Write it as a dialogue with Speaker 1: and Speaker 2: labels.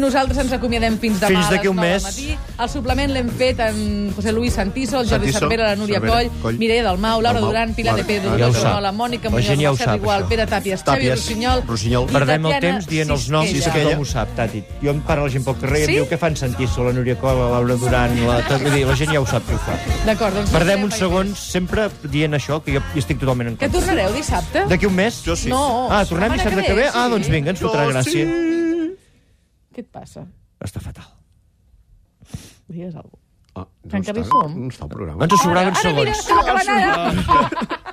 Speaker 1: Nosaltres ens acomiadem fins demà
Speaker 2: Fins
Speaker 1: a les
Speaker 2: d'aquí un
Speaker 1: 9 del
Speaker 2: mes.
Speaker 1: matí. El suplement l'hem fet amb José Luis Santiso, el Jordi
Speaker 3: Santiso,
Speaker 1: Cervera, la Núria
Speaker 3: Cervera,
Speaker 1: Coll,
Speaker 3: Coll,
Speaker 1: Mireia Dalmau, Laura
Speaker 3: Dalmau,
Speaker 1: Duran, Pilar
Speaker 3: vale,
Speaker 1: de Pedro,
Speaker 3: vale,
Speaker 2: ja ho
Speaker 1: Josep
Speaker 2: sap.
Speaker 1: Nola, Mònica
Speaker 2: La
Speaker 1: Muñoz,
Speaker 2: gent ja ho
Speaker 1: Mercè
Speaker 2: sap,
Speaker 1: Igual,
Speaker 2: això.
Speaker 1: Pere Tàpies, Xavi
Speaker 3: Tàpies,
Speaker 1: Rossinyol,
Speaker 3: Rossinyol.
Speaker 1: i
Speaker 2: Perdem el
Speaker 1: Tatiana
Speaker 2: temps dient els noms i
Speaker 1: Sisquella.
Speaker 2: tothom ho sap, Tati. Jo em parlo a la gent pel carrer
Speaker 1: Sí?
Speaker 2: i em diu què fan Santiso, la Núria Cola, la Laura Duran, la... tot- Vull dir, la gent ja ho sap que ho fa.
Speaker 1: D'acord, doncs... tornarem
Speaker 2: Perdem
Speaker 1: mai
Speaker 2: uns
Speaker 1: més.
Speaker 2: segons sempre dient això, que jo hi estic totalment en
Speaker 1: Que
Speaker 2: contra.
Speaker 1: tornareu dissabte?
Speaker 2: D'aquí un mes?
Speaker 3: Jo sí.
Speaker 1: No.
Speaker 2: Ah,
Speaker 1: Setmana
Speaker 2: tornem dissabte que ve?
Speaker 1: sí.
Speaker 2: Ah, doncs vinga, ens fotrà gràcia.
Speaker 1: Què et passa?
Speaker 2: Està fatal.
Speaker 1: Digues alguna cosa.
Speaker 3: Ah, no
Speaker 1: Que encara hi
Speaker 3: està,
Speaker 1: som.
Speaker 3: No està el programa.
Speaker 2: Doncs Ens sobraven
Speaker 1: Ara, mira,
Speaker 2: segons.
Speaker 1: s'està acabant ara.